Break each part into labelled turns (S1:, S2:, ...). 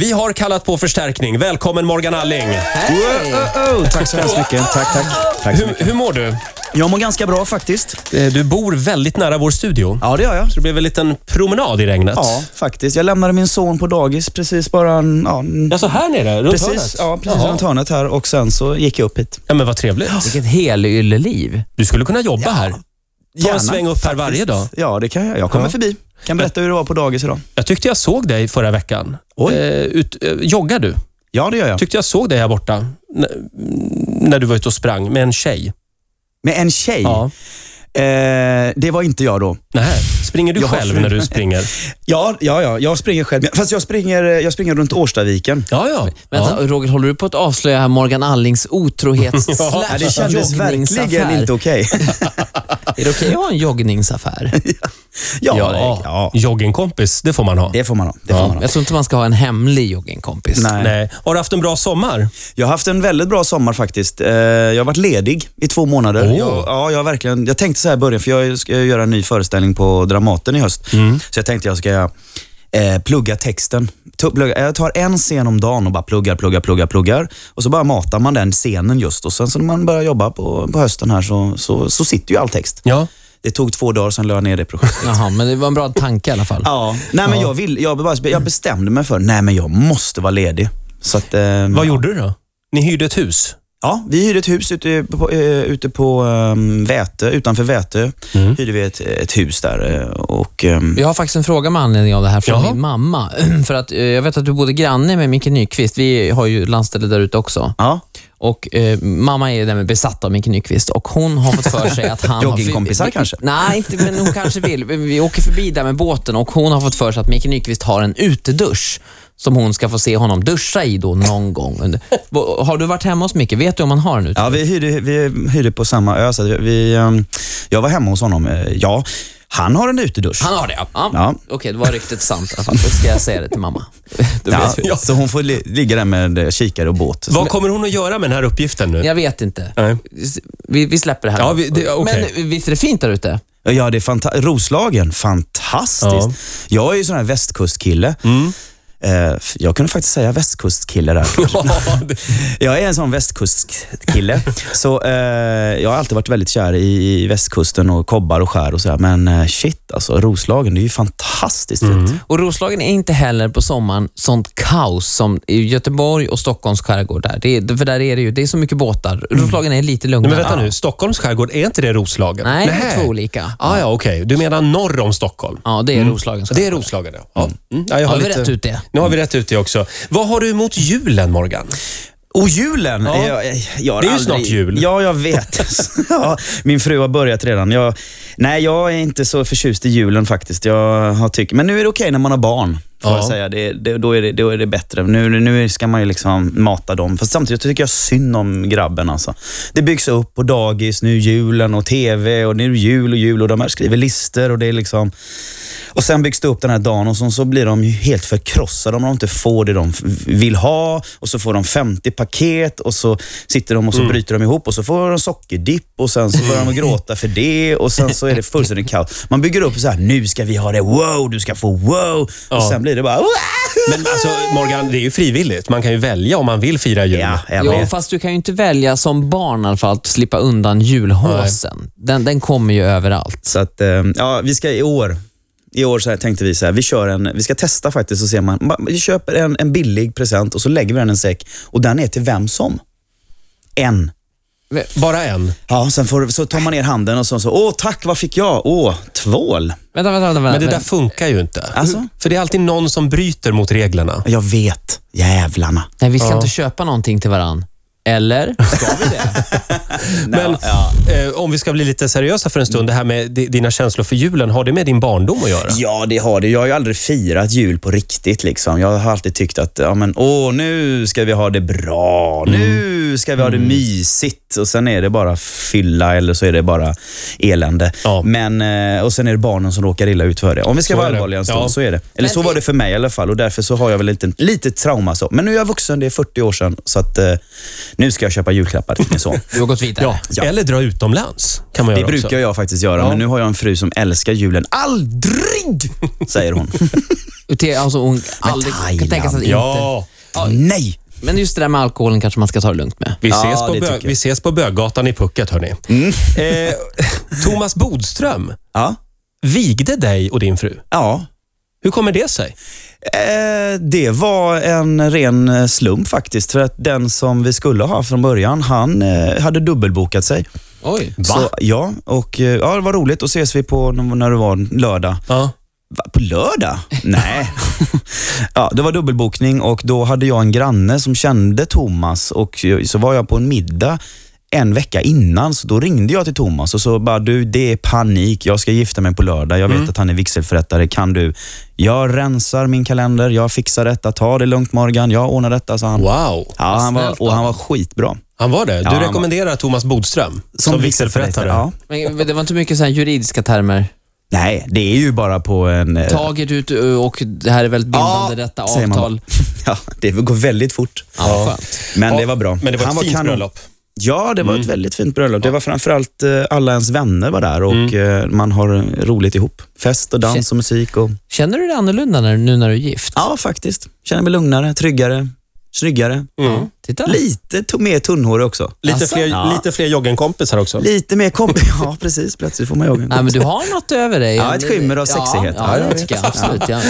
S1: Vi har kallat på förstärkning. Välkommen Morgan Alling.
S2: Wow, Tack så hemskt mycket. Tack, tack. tack så
S1: Hur,
S2: mycket.
S1: hur mår du?
S2: Jag mår ganska bra faktiskt.
S1: Eh, Du bor väldigt nära vår studio.
S2: Ja, det gör jag.
S1: Det blev en liten promenad i regnet.
S2: Ja, faktiskt. Jag lämnade min son på dagis precis bara en, ja, en-
S1: Ja, så här nere? Runt hörnet?
S2: precis, ja, precis
S1: Jaha.
S2: runt hörnet här och sen så gick jag upp hit.
S1: Ja, men vad trevligt.
S3: Vilket helylleliv.
S1: Du skulle kunna jobba här. Ta
S2: Gärna,
S1: en sväng upp här varje dag.
S2: Ja, det kan jag. Jag kommer
S1: Ja.
S2: förbi. Kan berätta hur det var på dagis idag.
S1: Jag tyckte jag såg dig förra veckan.
S2: Oj.
S1: Eh, ut, eh, joggar du?
S2: Ja, det gör jag.
S1: Tyckte jag såg dig här borta. N- när du var ute och sprang med en tjej.
S2: Med en tjej.
S1: Ja.
S2: Eh, det var inte jag då.
S1: Nej, springer du
S2: Jag har
S1: själv
S2: fru.
S1: när du springer?
S2: Ja, ja, ja. Jag springer själv. Fast jag springer, jag springer runt Årstaviken.
S1: Ja, ja.
S3: Vänta,
S1: ja.
S3: Roger, håller du på att avslöja här Morgan Allings otrohets
S1: Ja,
S2: Nej, det kändes verkligen inte okej.
S3: Är det okej att ha en joggningsaffär?
S2: ja,
S1: Ja,
S2: det- ja,
S1: Joggingkompis, det får man ha.
S2: det får man ha. Det får man ha.
S3: Jag tror inte man ska ha en hemlig joggingkompis.
S2: Nej.
S1: Nej. Har du haft en bra sommar?
S2: Jag har haft en väldigt bra sommar faktiskt. Eh, Jag har varit ledig i två månader.
S1: Åh.
S2: Jag, ja, jag, har verkligen, jag tänkte så här i början, för jag ska göra en ny föreställning på Dramaten i höst. Så jag tänkte jag ska eh, plugga texten. Ta- plugga- Jag tar en scen om dagen och bara pluggar, pluggar, pluggar, pluggar. Och så bara matar man den scenen just. Och sen så när man börjar jobba på, på hösten här så, så, så sitter ju all text.
S1: Ja.
S2: Det tog två dagar, sen la jag ner det projektet.
S3: Jaha, men det var en bra tanke i alla fall.
S2: ja. Nej, men jag, vill, jag, bara- jag bestämde mig för, nej men jag måste vara ledig. Så att, eh,
S1: Vad gjorde du då? Ni hyrde ett hus.
S2: Ja, vi hyrde ett hus ute på, eh, ute på um, Vätö, utanför Vätö.
S3: Mm.
S2: Hyrde vi ett, ett hus där eh, och ehm,
S3: Jag har faktiskt en fråga med anledning av det här från
S1: Jaha.
S3: min mamma. För att eh, Jag vet att du bodde granne med Micke Nyqvist. Vi har ju landställe där ute också.
S2: ja.
S3: Och eh, Mamma är därmed besatt av Micke Nyqvist och hon har fått för sig att han... har-
S2: Joggingkompisar kanske?
S3: Nej, inte, men hon kanske vill. Vi åker förbi där med båten och hon har fått för sig att Micke Nyqvist har en utedusch som hon ska få se honom duscha i då någon gång. under- Vad- Har du varit hemma hos Micke? Vet du om han har en utedusch?
S2: ja, vi hyrde, vi hyrde på samma ö. Så att vi, ehm, jag var hemma hos honom. eh, Ja, han har en utedusch.
S3: Han har det, ja. ja.
S2: Ja.
S3: Okej, det var riktigt sant i alla fall. Då ska jag säga det till mamma. Då
S2: Ja,
S3: vet vi.
S2: så hon får li- ligga där med eh, kikare och båt.
S1: Vad kommer hon att göra med den här uppgiften nu?
S3: Jag vet inte.
S1: Nej.
S3: Vi, vi släpper det här.
S1: Ja, vi- det- okej.
S3: Men visst är det fint där ute?
S2: Ja, det är fanta- Roslagen. Fantastiskt.
S1: Ja.
S2: Jag är ju sån här västkustkille.
S3: Mm.
S2: Eh, Jag kunde faktiskt säga västkustkille där.
S1: Ja, det-
S2: Jag är en sån västkustkille. så eh, jag har alltid varit väldigt kär i i västkusten och kobbar och skär och sådär. Men eh, shit alltså, Roslagen, det är ju fantastiskt fint.
S3: Och Roslagen är inte heller på sommaren sånt kaos som i Göteborg och Stockholms skärgård. Där. Det är, för där är det ju, det är så mycket båtar. Roslagen är lite
S1: Mm. Nej,
S3: lugnare.
S1: men vänta nu, Stockholms skärgård, är inte det Roslagen?
S3: Nej, det är
S1: Nähä.
S3: två olika.
S1: Ah, ja, okej. Du menar norr om Stockholm?
S3: Ja, det är Roslagen.
S1: Mm. Det är Roslagen, ja. ja. Mm. ja jag
S3: Har vi rätt ut det?
S1: Nu har vi rätt ut det också. Vad har du emot julen, Morgan?
S2: Och julen!
S1: Ja.
S2: Jag, jag, jag har
S1: Det är ju
S2: aldrig...
S1: snart jul.
S2: Ja, jag vet. ja, min fru har börjat redan. Jag, nej, jag är inte så förtjust i julen faktiskt. Jag har tyckt, men nu är det okej när man har barn. Får
S1: Ja.
S2: jag säga. Det, det, då, är det, då är det bättre. Nu, nu ska man ju liksom mata dem. Fast samtidigt tycker jag synd om grabben. Alltså. Det byggs upp på dagis, nu är julen och tv och nu är det jul och jul och de här skriver listor och det är liksom... Och sen byggs det upp den här dagen och så, så blir de ju helt förkrossade om de inte får det de f- vill ha. Och så får de 50 paket och så sitter de och
S1: Mm.
S2: så bryter de ihop och så får de sockerdipp och sen så börjar de gråta för det och sen så är det fullständigt kaos. Man bygger upp så här, nu ska vi ha det, wow, du ska få wow.
S1: Ja.
S2: Och sen blir det bara, wow!
S1: Men alltså, Morgan, det är ju frivilligt. Man kan ju välja om man vill fira jul.
S2: Ja, jag
S3: Ja,
S2: vet.
S3: fast du kan ju inte välja som barn i alla fall att slippa undan julhåsen. Den, den kommer ju överallt.
S2: Så att, eh, ja, vi ska i år, i år så här tänkte vi så här, vi kör en, vi ska testa faktiskt och se om man, ma- vi köper en, en billig present och så lägger vi den i en säck och den är till vem som. En.
S1: Bara en.
S2: Ja, sen får, så tar man ner handen och så, så åh tack, vad fick jag? Åh, tvål.
S3: Vänta, vänta, vänta.
S1: Men det där
S3: vänta.
S1: funkar ju inte.
S2: Alltså?
S1: För det är alltid någon som bryter mot reglerna.
S2: Jag vet, jävlarna.
S3: Nej, vi ska inte köpa någonting till varann. Eller?
S1: Men eh, om vi ska bli lite seriösa för en stund, det här med di- dina känslor för julen, har det med din barndom att göra?
S2: Ja, det har det. Jag har ju aldrig firat jul på riktigt. Liksom. Jag har alltid tyckt att, ja, men, åh, nu ska vi ha det bra. Nu
S1: Mm.
S2: nu ska vi ha det mysigt och sen är det bara fylla eller så är det bara elände.
S1: Ja.
S2: Men, eh, och sen är det barnen som råkar illa ut för det. Om vi ska
S1: Så
S2: vara
S1: är det.
S2: allvarliga en stund
S1: Ja.
S2: så är det. Eller
S3: Men
S2: så var
S3: det-
S2: det för mig i alla fall och därför så har jag väl inte lite trauma så. Men nu är jag vuxen, det är 40 år sedan så att eh, nu ska jag köpa julklappar till min son.
S3: Du har gått vidare.
S1: Ja.
S2: Ja.
S1: Eller dra utomlands kan man
S2: Det
S1: göra
S2: brukar
S1: också.
S2: jag faktiskt göra, men nu har jag en fru som älskar julen. Aldrig! Säger hon.
S3: Ute- Alltså, hon aldrig kan
S2: Thailand.
S3: tänka sig att inte...
S1: Ja,
S2: Nej!
S3: Men just det där med alkoholen kanske man ska ta det lugnt med.
S1: vi
S2: Ja,
S1: ses, på,
S2: det
S1: bö-
S2: tycker jag.
S1: vi ses på Böggatan i Pucket, hörni. Eh, Thomas Bodström
S2: Ja.
S1: vigde dig och din fru.
S2: ja.
S1: Hur kommer det sig?
S2: Eh, det var en ren eh, slump faktiskt. För att den som vi skulle ha från början, han eh, hade dubbelbokat sig.
S3: Oj.
S2: Så, ja, och eh, ja, det var roligt. Och ses vi på, när det var lördag.
S1: Ja.
S2: Va, på lördag? Nej. ja, det var dubbelbokning och då hade jag en granne som kände Thomas och så var jag på en middag en vecka innan, så då ringde jag till Thomas och så bara, du det är panik, jag ska gifta mig på lördag, jag vet
S3: Mm.
S2: att han är vigselförrättare, kan du? Jag rensar min kalender, jag fixar detta, ta det lugnt Morgan, jag ordnar detta, sa han.
S1: Wow.
S2: Ja, han var,
S3: Snällt
S2: och han var skitbra.
S1: Han var det. Du
S2: Ja, han var-
S1: rekommenderar Thomas Bodström som, vigselförrättare?
S2: Ja.
S3: Men det var inte mycket så här juridiska termer.
S2: Nej, det är ju bara på en... eh,
S3: Taget ut ö, och det här är väldigt bindande detta
S2: säger man
S3: avtal.
S2: bara. Ja, det går väldigt fort.
S3: Ja, skönt.
S2: Men
S1: Ja,
S2: det var bra.
S1: Men det var
S2: Han
S1: ett fint
S2: kanon.
S1: bröllop.
S2: Ja, det var ett väldigt fint bröllop. Det var framförallt eh, alla ens vänner var där och eh, man har roligt ihop. Fest och dans och musik. Och...
S3: Känner du dig annorlunda när, nu när du är gift?
S2: Ja, faktiskt. Känner mig lugnare, tryggare, snyggare.
S1: Mm.
S3: Titta.
S2: Lite to- mer tunnhårig också.
S1: Lite,
S3: Asså?
S1: fler,
S2: Ja.
S1: lite fler joggenkompisar också.
S2: Lite mer kompis. Ja, precis. Plötsligt får man joggen.
S3: Nej, men du har något över dig.
S2: Ja, ett skimmer av sexighet.
S3: Ja,
S2: Ja,
S3: ja,
S2: jag
S3: det
S2: vet.
S3: tycker jag absolut. Ja.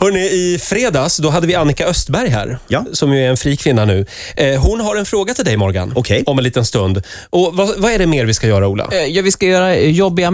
S1: Hörrni, i fredags då hade vi Annika Östberg här,
S2: Ja.
S1: som ju är en fri kvinna nu. Eh, Hon har en fråga till dig, Morgan,
S2: Okej.
S1: om en liten stund. Och vad, vad är det mer vi ska göra, Ola?
S3: Eh, Ja, vi ska göra eh, jobbiga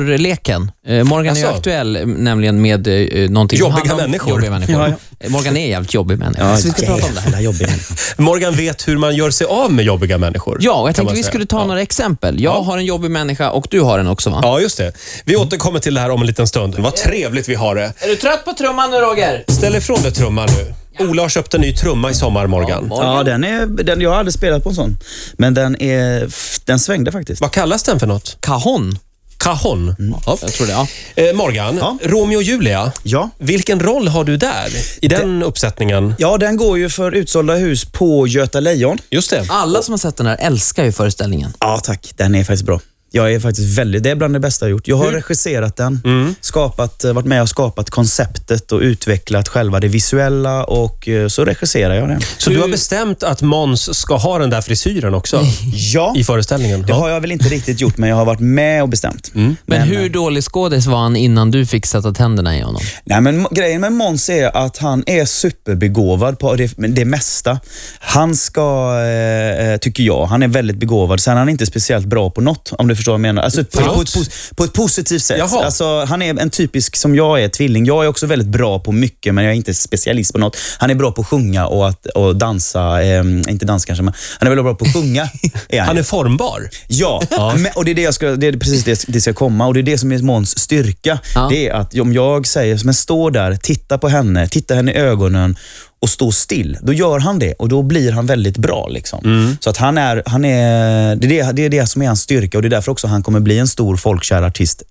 S3: människor-leken. Eh, Morgan är ju
S1: Asså?
S3: aktuell eh, nämligen med eh, någonting
S1: Jobbiga
S3: handlar om
S1: människor.
S3: Jobbiga människor.
S2: Ja,
S3: Eh, Morgan är jävligt jobbig människa,
S2: Ja,
S3: så vi ska prata om det.
S2: jävla jobbig människa.
S1: Morgan vet hur man gör sig av med jobbiga människor.
S3: Ja, och jag
S1: kan man
S3: tänkte vi
S1: säga.
S3: skulle ta
S1: Ja.
S3: några exempel. Jag har en jobbig människa och du har en också va?
S1: Ja, just det. Vi återkommer till det här om en liten stund. Vad trevligt vi har det.
S3: Är du trött på trumman nu Roger?
S1: Ställ ifrån dig trumman nu. Ola har köpt en ny trumma i sommar, Morgan.
S2: Ja, den är, den, jag har aldrig spelat på en sån. Men den, är, f- den svängde faktiskt.
S1: Vad kallas den för något?
S3: Cajon.
S1: Cajon? Ja.
S3: Jag tror det, ja.
S1: Eh, Morgan,
S2: Mm. Ja.
S1: Romeo och Julia.
S2: Ja.
S1: Vilken roll har du där? I den uppsättningen?
S2: ja, den går ju för utsålda hus på Göta Lejon.
S1: Just det.
S3: Alla som har sett den här älskar ju föreställningen.
S2: Ja, tack. Den är faktiskt bra. Jag är faktiskt väldigt, det är bland det bästa jag gjort. Jag har regisserat den, skapat, eh, varit med och skapat konceptet och utvecklat själva det visuella och eh, så regisserar jag den.
S1: Så du har bestämt att Måns ska ha den där frisyren också
S2: Ja,
S1: i föreställningen?
S2: det har jag väl inte riktigt gjort, men jag har varit med och bestämt.
S3: Men, hur dålig skådis var han innan du fick sätta tänderna i honom?
S2: Nej, men grejen med Måns är att han är superbegåvad på det, men det mesta. Han ska, eh, eh, tycker jag, han är väldigt begåvad. Sen är han inte speciellt bra på något, om du förstår vad jag menar. Alltså, på,
S1: Förlåt?
S2: på, ett, pos- på ett positivt sätt.
S1: Jaha.
S2: Alltså, han är en typisk, som jag är, tvilling. Jag är också väldigt bra på mycket, men jag är inte specialist på något. Han är bra på att sjunga och, att, och dansa. Eh, inte dansa kanske, men han är väldigt bra på att sjunga. är han.
S1: Han är formbar.
S2: Ja, Men, och det är, det, jag ska, det är precis det det ska komma och det är det som är Måns styrka.
S3: Ja.
S2: Det är att om jag säger, men stå där, titta på henne, titta henne i ögonen och stå still. Då gör han det och då blir han väldigt bra. Liksom.
S1: Mm.
S2: Så att han är, han är, det, är det, det är det som är hans styrka och det är därför också han kommer bli en stor folkkär artist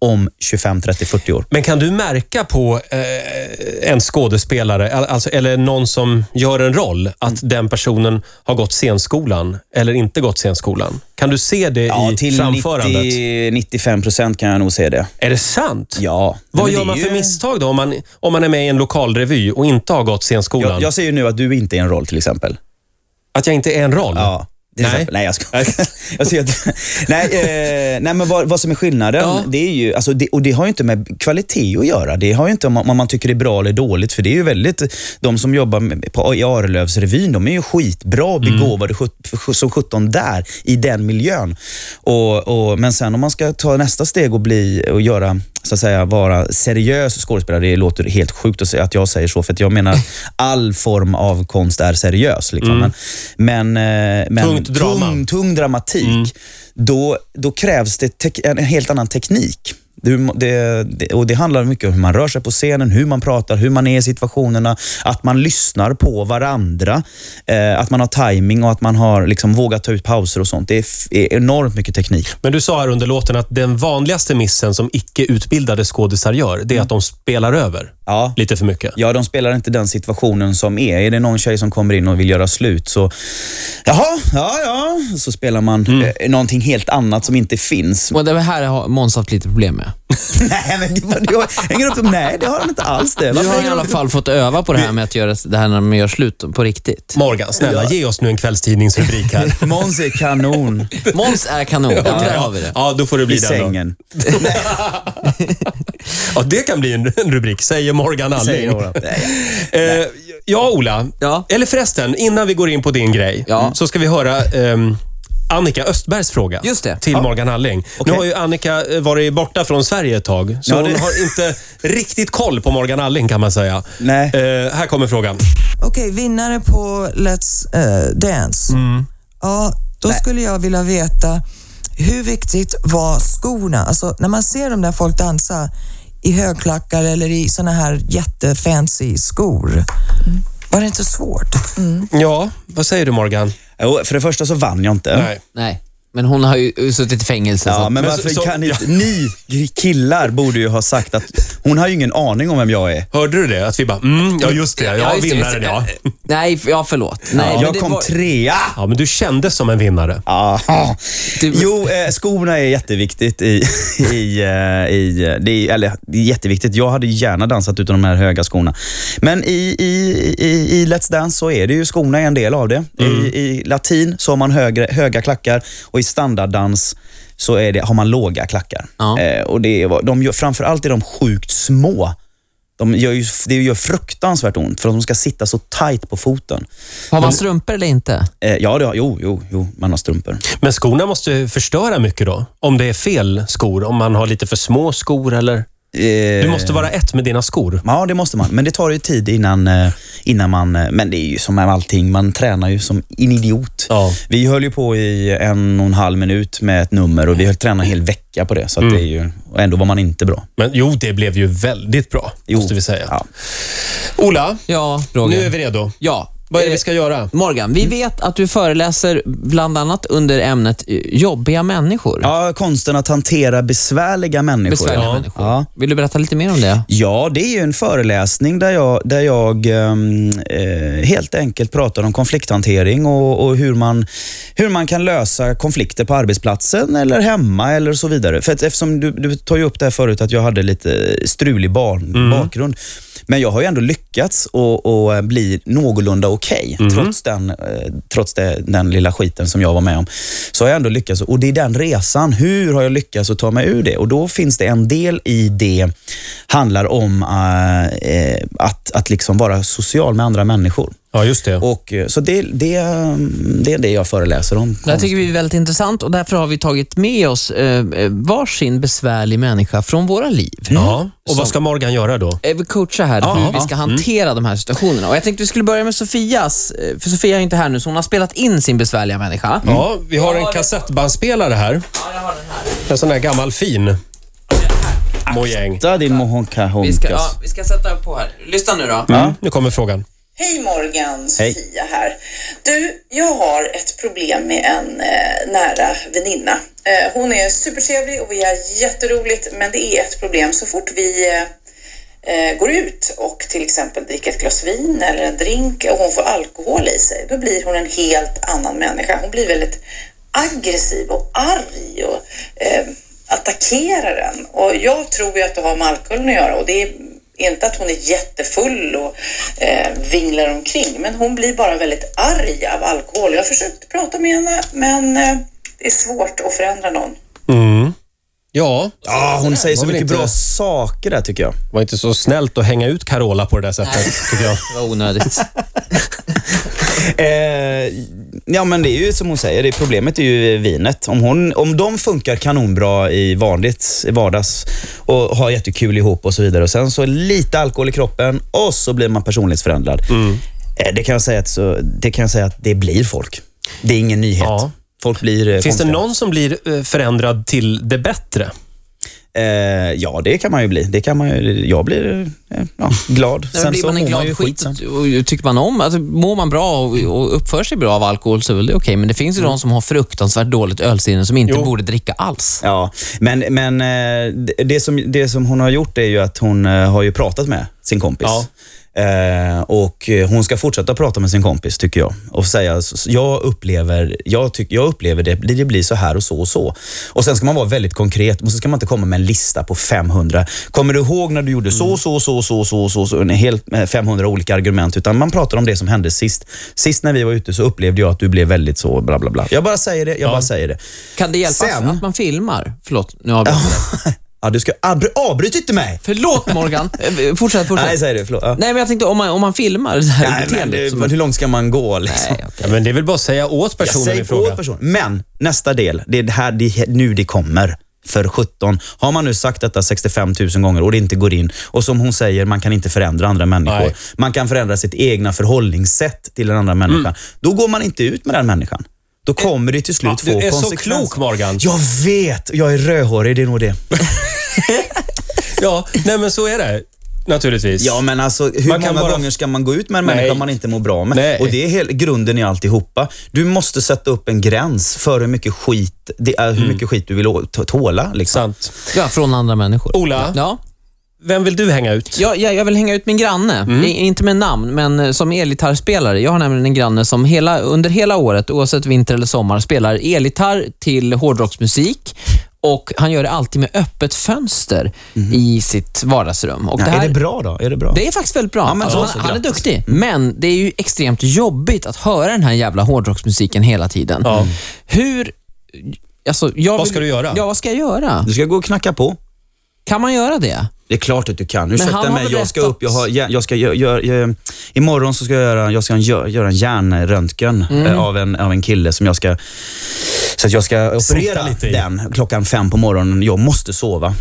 S2: om 25, 30, 40 år.
S1: Men kan du märka på eh, en skådespelare, al- alltså, eller någon som gör en roll, att
S2: Mm.
S1: den personen har gått scenskolan eller inte gått scenskolan? Kan du se det
S2: Ja,
S1: i
S2: till
S1: framförandet?
S2: 90, 95 procent kan jag nog se det.
S1: Är det sant?
S2: Ja.
S1: Vad
S2: Men
S1: gör
S2: det
S1: man
S2: är
S1: för
S2: ju-
S1: misstag då om man, om man är med i en lokalrevy och inte har gått scenskolan?
S2: Jag, jag säger ju nu att du inte är en roll till exempel.
S1: Att jag inte är en roll?
S2: Ja. till
S1: Nej.
S2: exempel. nej, jag skojar. jag ser att, nej, eh, nej, men vad, vad som är skillnaden,
S3: Ja.
S2: det är ju, alltså det, och det har ju inte med kvalitet att göra. Det har ju inte om man, om man tycker det är bra eller dåligt, för det är ju väldigt, de som jobbar med, på, i Arlövsrevyn, de är ju skitbra begåvade sjut- som sjutton där, i den miljön. Och, och, men sen om man ska ta nästa steg och bli, och göra, så att säga, vara seriös skådespelare, det låter helt sjukt att, säga, att jag säger så, för att jag menar all form av konst är seriös. Liksom. Men, men, eh, men
S1: Tungt drama. Mm.
S2: tung, tung dramatik, då, då krävs det tek- en en helt annan teknik. Du må- Det, det, och det handlar mycket om hur man rör sig på scenen, hur man pratar, hur man är i situationerna, att man lyssnar på varandra, eh, att man har timing och att man har liksom vågat ta ut pauser och sånt. Det är, f- är enormt mycket teknik.
S1: Men du sa här under låten att den vanligaste missen som icke-utbildade skådisar gör, det är att de spelar över
S2: Ja.
S1: lite för mycket.
S2: Ja, de spelar inte den situationen som är. Är det någon tjej som kommer in och vill göra slut så, jaha, ja, ja. Så spelar man
S1: Mm.
S2: eh, någonting helt annat som inte finns.
S3: Och det här har Måns haft lite problem med.
S2: nej, men det, var- det var- hänger upp dem. Nej, det har han inte alls det.
S3: Du
S2: Varför
S3: har i
S2: hänger de
S3: alla
S2: upp
S3: fall fått öva på det här med att göra det här när man gör slut på riktigt.
S1: Morgan, snälla ge oss nu en kvällstidningsrubrik här.
S2: dem? Måns är kanon
S3: Måns är kanon. Ja, där har vi det.
S1: Ja, då får det bli
S2: i
S1: den då.
S2: sängen.
S1: Ja, det kan bli en, en rubrik, säger Morgan Alling.
S2: Säger Ola.
S1: Eh, ja, Ola.
S3: Ja.
S1: Eller förresten, innan vi går in på din grej
S3: Ja.
S1: så ska vi höra ehm, Annika Östbergs fråga
S3: Just det.
S1: till Morgan Alling.
S2: Okej.
S1: Nu har ju Annika eh, varit borta från Sverige ett tag, så
S2: Ja, det-
S1: hon har inte riktigt koll på Morgan Alling kan man säga.
S2: Nej.
S1: Eh, här kommer frågan.
S4: Okej, vinnare på Let's eh, Dance. Ja, då skulle jag vilja veta hur viktigt var skorna? Alltså när man ser dem där folk dansa i högklackar eller i såna här jättefancy skor. Var det inte svårt?
S1: Ja, vad säger du Morgan?
S2: Jo, för det första så vann jag inte.
S1: Nej.
S3: Nej, men hon har ju suttit i fängelse. så
S2: Ja,
S3: att-
S2: men
S1: Men
S2: varför
S1: så- så-
S2: kan inte... Ni killar borde ju ha sagt att hon har ju ingen aning om vem jag är.
S1: Hörde du det? Att vi bara, mm, ja just det, jag
S3: Ja, just det, Eh,
S1: vinnaren ja.
S3: just det. Nej, f- ja förlåt. Nej, men
S2: jag
S3: det
S2: kom
S3: var-
S2: trea.
S1: Ja, men du kändes som en vinnare.
S2: Aha.
S3: Du-
S2: Jo, eh, skorna är jätteviktigt. I, i, eh, i, eh, det är, eller, det är jätteviktigt. Jag hade gärna dansat utan de här höga skorna. Men i, i, i, i Let's Dance så är det ju skorna är en del av det.
S3: Mm.
S2: I, I latin så har man högre, höga klackar och i standarddans så är det, har man låga klackar.
S3: Ja.
S2: Eh, och det är, vad- de gör, framförallt är de sjukt små. De gör ju, det gör fruktansvärt ont för att de ska sitta så tight på foten.
S3: Har man strumpor eller inte?
S2: Eh, ja, det har, jo, jo, jo, man har strumpor.
S1: Men skorna måste ju förstöra mycket då? Om det är fel skor, om man har lite för små skor eller?
S2: Eh,
S1: Du måste vara ett med dina skor.
S2: Ja, det måste man. Men det tar ju tid innan, eh, innan man... eh, Men det är ju som med allting, man tränar ju som en idiot.
S1: Ja.
S2: Vi höll ju på i en och en halv minut med ett nummer och vi höll träna en hel vecka på det. Så att det är ju, och ändå var man inte bra.
S1: Men jo, det blev ju väldigt bra,
S2: Jo.
S1: måste vi säga.
S2: Ja.
S1: Ola,
S3: Ja, Roger.
S1: nu är vi redo.
S3: Ja.
S1: Vad är det
S3: eh,
S1: vi ska göra?
S3: Morgan, vi vet att du föreläser bland annat under ämnet eh, jobbiga människor.
S2: ja, konsten att hantera besvärliga människor.
S3: Besvärliga
S1: Ja.
S3: människor.
S2: Ja.
S3: Vill du berätta lite mer om det?
S2: Ja, det är ju en föreläsning där jag, där jag ehm, eh, helt enkelt pratar om konflikthantering och, och hur, man, hur man kan lösa konflikter på arbetsplatsen eller hemma eller så vidare. För att eftersom du, du tar ju upp det här förut att jag hade lite strulig barn, bakgrund. Men jag har ju ändå lyckats att- att bli någorlunda okej trots, den, eh, trots det, den lilla skiten som jag var med om. Så har jag ändå lyckats och det är den resan. Hur har jag lyckats att ta mig ur det? Och då finns det en del i det handlar om eh, eh, att, att liksom vara social med andra människor.
S1: Ja, just det.
S2: Och, eh, så det, det, eh, det är det jag föreläser om.
S3: Det här tycker vi är väldigt intressant och därför har vi tagit med oss eh, eh, varsin besvärlig människa från våra liv.
S1: ja. Och vad ska Morgan göra då?
S3: Eh, Vi coachar här hur vi ska hantera de här situationerna. Och jag tänkte vi skulle börja med Sofias, eh, för Sofia är inte här nu, så hon har spelat in sin besvärliga människa.
S1: Ja, vi har en kassettbandspelare här. En sån här gammal fin. Mojäng.
S2: Ta din mohonka
S3: Vi ska, ja, vi ska sätta på här. Lyssna nu då.
S1: Mm, nu kommer frågan.
S5: Hej Morgan,
S2: Hej.
S5: Sofia här. Du, jag har ett problem med en eh, nära väninna. Eh, hon är supertrevlig och vi har jätteroligt, men det är ett problem så fort vi eh, eh, går ut och till exempel dricker ett glas vin eller en drink och hon får alkohol i sig, då blir hon en helt annan människa. Hon blir väldigt aggressiv och arg och eh, attackerar den. Och jag tror ju att det har med alkoholen att göra och det är inte att hon är jättefull och eh, vinglar omkring, men hon blir bara väldigt arg av alkohol. Jag har försökt prata med henne, men eh, det är svårt att förändra någon.
S1: Mm. Ja,
S2: Ja, Ah, hon säger så
S1: Var väl
S2: mycket
S1: inte-
S2: bra saker där tycker jag.
S1: det var inte så snällt att hänga ut Carola på det där sättet, tycker jag.
S3: Det var onödigt.
S2: Eh, ja men det är ju som hon säger, det problemet är ju vinet. Om, hon, om de funkar kanonbra i vanligt i vardags och har jättekul ihop och så vidare. Och sen så lite alkohol i kroppen och så blir man personlighetsförändrad.
S3: Mm.
S2: Eh, det, kan jag säga att så, det kan jag säga att det blir folk. Det är ingen nyhet.
S1: Ja.
S2: Folk blir eh,
S1: Finns det
S2: konstiga.
S1: någon som blir eh, förändrad till det bättre?
S2: Eh, ja, det kan man ju bli. Det kan man ju, jag blir eh, ja, glad.
S3: Sen blir
S2: så
S3: man en
S2: mår
S3: glad
S2: ju
S3: skit
S2: sen.
S3: och tycker man om, alltså, mår man bra och, och uppför sig bra av alkohol så är väl det okej. Men det finns
S2: Mm.
S3: ju de som har fruktansvärt dåligt ölsinne som inte
S1: Jo.
S3: borde dricka alls.
S2: Ja, men, men eh, det- det, som, det som hon har gjort är ju att hon eh, har ju pratat med sin kompis.
S1: Ja.
S2: Eh, och eh, hon ska fortsätta prata med sin kompis tycker jag. Och säga, "S- s- jag upplever, jag tyck, jag upplever det, det blir så här och så och så. Och sen ska man vara väldigt konkret och så ska man inte komma med en lista på 500. Kommer du ihåg när du gjorde så, så, så, så, så, så, så, en hel, eh, 500 olika argument. Utan man pratar om det som hände sist. Sist när vi var ute så upplevde jag att du blev väldigt så, bla bla bla. Jag bara säger det, jag bara säger det.
S3: Kan det hjälpa
S2: Sen-
S3: att man filmar? Förlåt, nu har jag
S2: Ja, du ska abry- avbryt inte mig!
S3: Förlåt Morgan. Eh, fortsätt, fortsätt.
S2: Nej, säger du. Förlåt. Ja.
S3: Nej, men jag tänkte om man, om man filmar det här
S2: Nej, men,
S3: beteendet.
S2: det,
S3: som-
S2: men hur långt ska man gå? Liksom?
S3: Nej, okej.
S1: Ja, men det är väl bara att säga åt
S2: jag
S1: personen i
S2: säger åt
S1: fråga.
S2: personen. Men nästa del, det är det här, det är nu det kommer. För 17. Har man nu sagt detta 65 000 gånger och det inte går in och som hon säger, man kan inte förändra andra människor.
S1: Nej.
S2: Man kan förändra sitt egna förhållningssätt till den andra människan. Då går man inte ut med den människan. Då kommer det till slut
S1: du
S2: få
S1: är så
S2: konsekvenser.
S1: klok, Morgan.
S2: Jag vet! Jag är rödhårig, det är nog det.
S1: Ja, nej men så är det. Naturligtvis.
S2: Ja, men alltså hur
S1: Man kan
S2: många
S1: bara-
S2: gånger ska man gå ut med en
S1: Nej.
S2: människa man inte mår bra med?
S1: Nej.
S2: Och det är hel, grunden i alltihopa. Du måste sätta upp en gräns för hur mycket skit, det är, hur mycket skit du vill å- t- tåla. Liksom.
S1: Sant.
S3: Ja, från andra människor.
S1: Ola?
S3: Ja.
S1: Vem vill du hänga ut?
S3: Jag, jag, jag vill hänga ut min granne. I- Inte med namn, men eh, som elgitarrspelare. Jag har nämligen en granne som hela, under hela året, oavsett vinter eller sommar, spelar elgitarr till hårdrocksmusik. Och Han gör det alltid med öppet fönster i sitt vardagsrum. Och
S2: Ja,
S3: det här-
S2: Mm. Är det bra då? Är det bra?
S3: Det är faktiskt väldigt bra.
S2: Ja, men
S3: alltså,
S2: då
S3: han,
S2: så,
S3: han är
S2: grattis.
S3: duktig, men det är ju extremt jobbigt att höra den här jävla hårdrocksmusiken hela tiden.
S1: Ja.
S3: Hur... Alltså, jag
S1: Vad
S3: vill-
S1: ska du göra?
S3: Ja, vad ska jag göra?
S2: Du ska gå och knacka på.
S3: Kan man göra det?
S2: Det är klart att du kan.
S3: han
S2: Ursäkta
S3: har
S2: mig,
S3: väl
S2: jag ska
S3: rätt
S2: upp. Jag har, jag jag ska göra, gör, gör, imorgon så ska jag göra, jag ska göra, göra en hjärnröntgen eh, av, en, av en kille som jag ska... Så att jag ska
S1: Snitta
S2: operera
S1: lite i.
S2: den klockan fem på morgonen. Jag måste sova.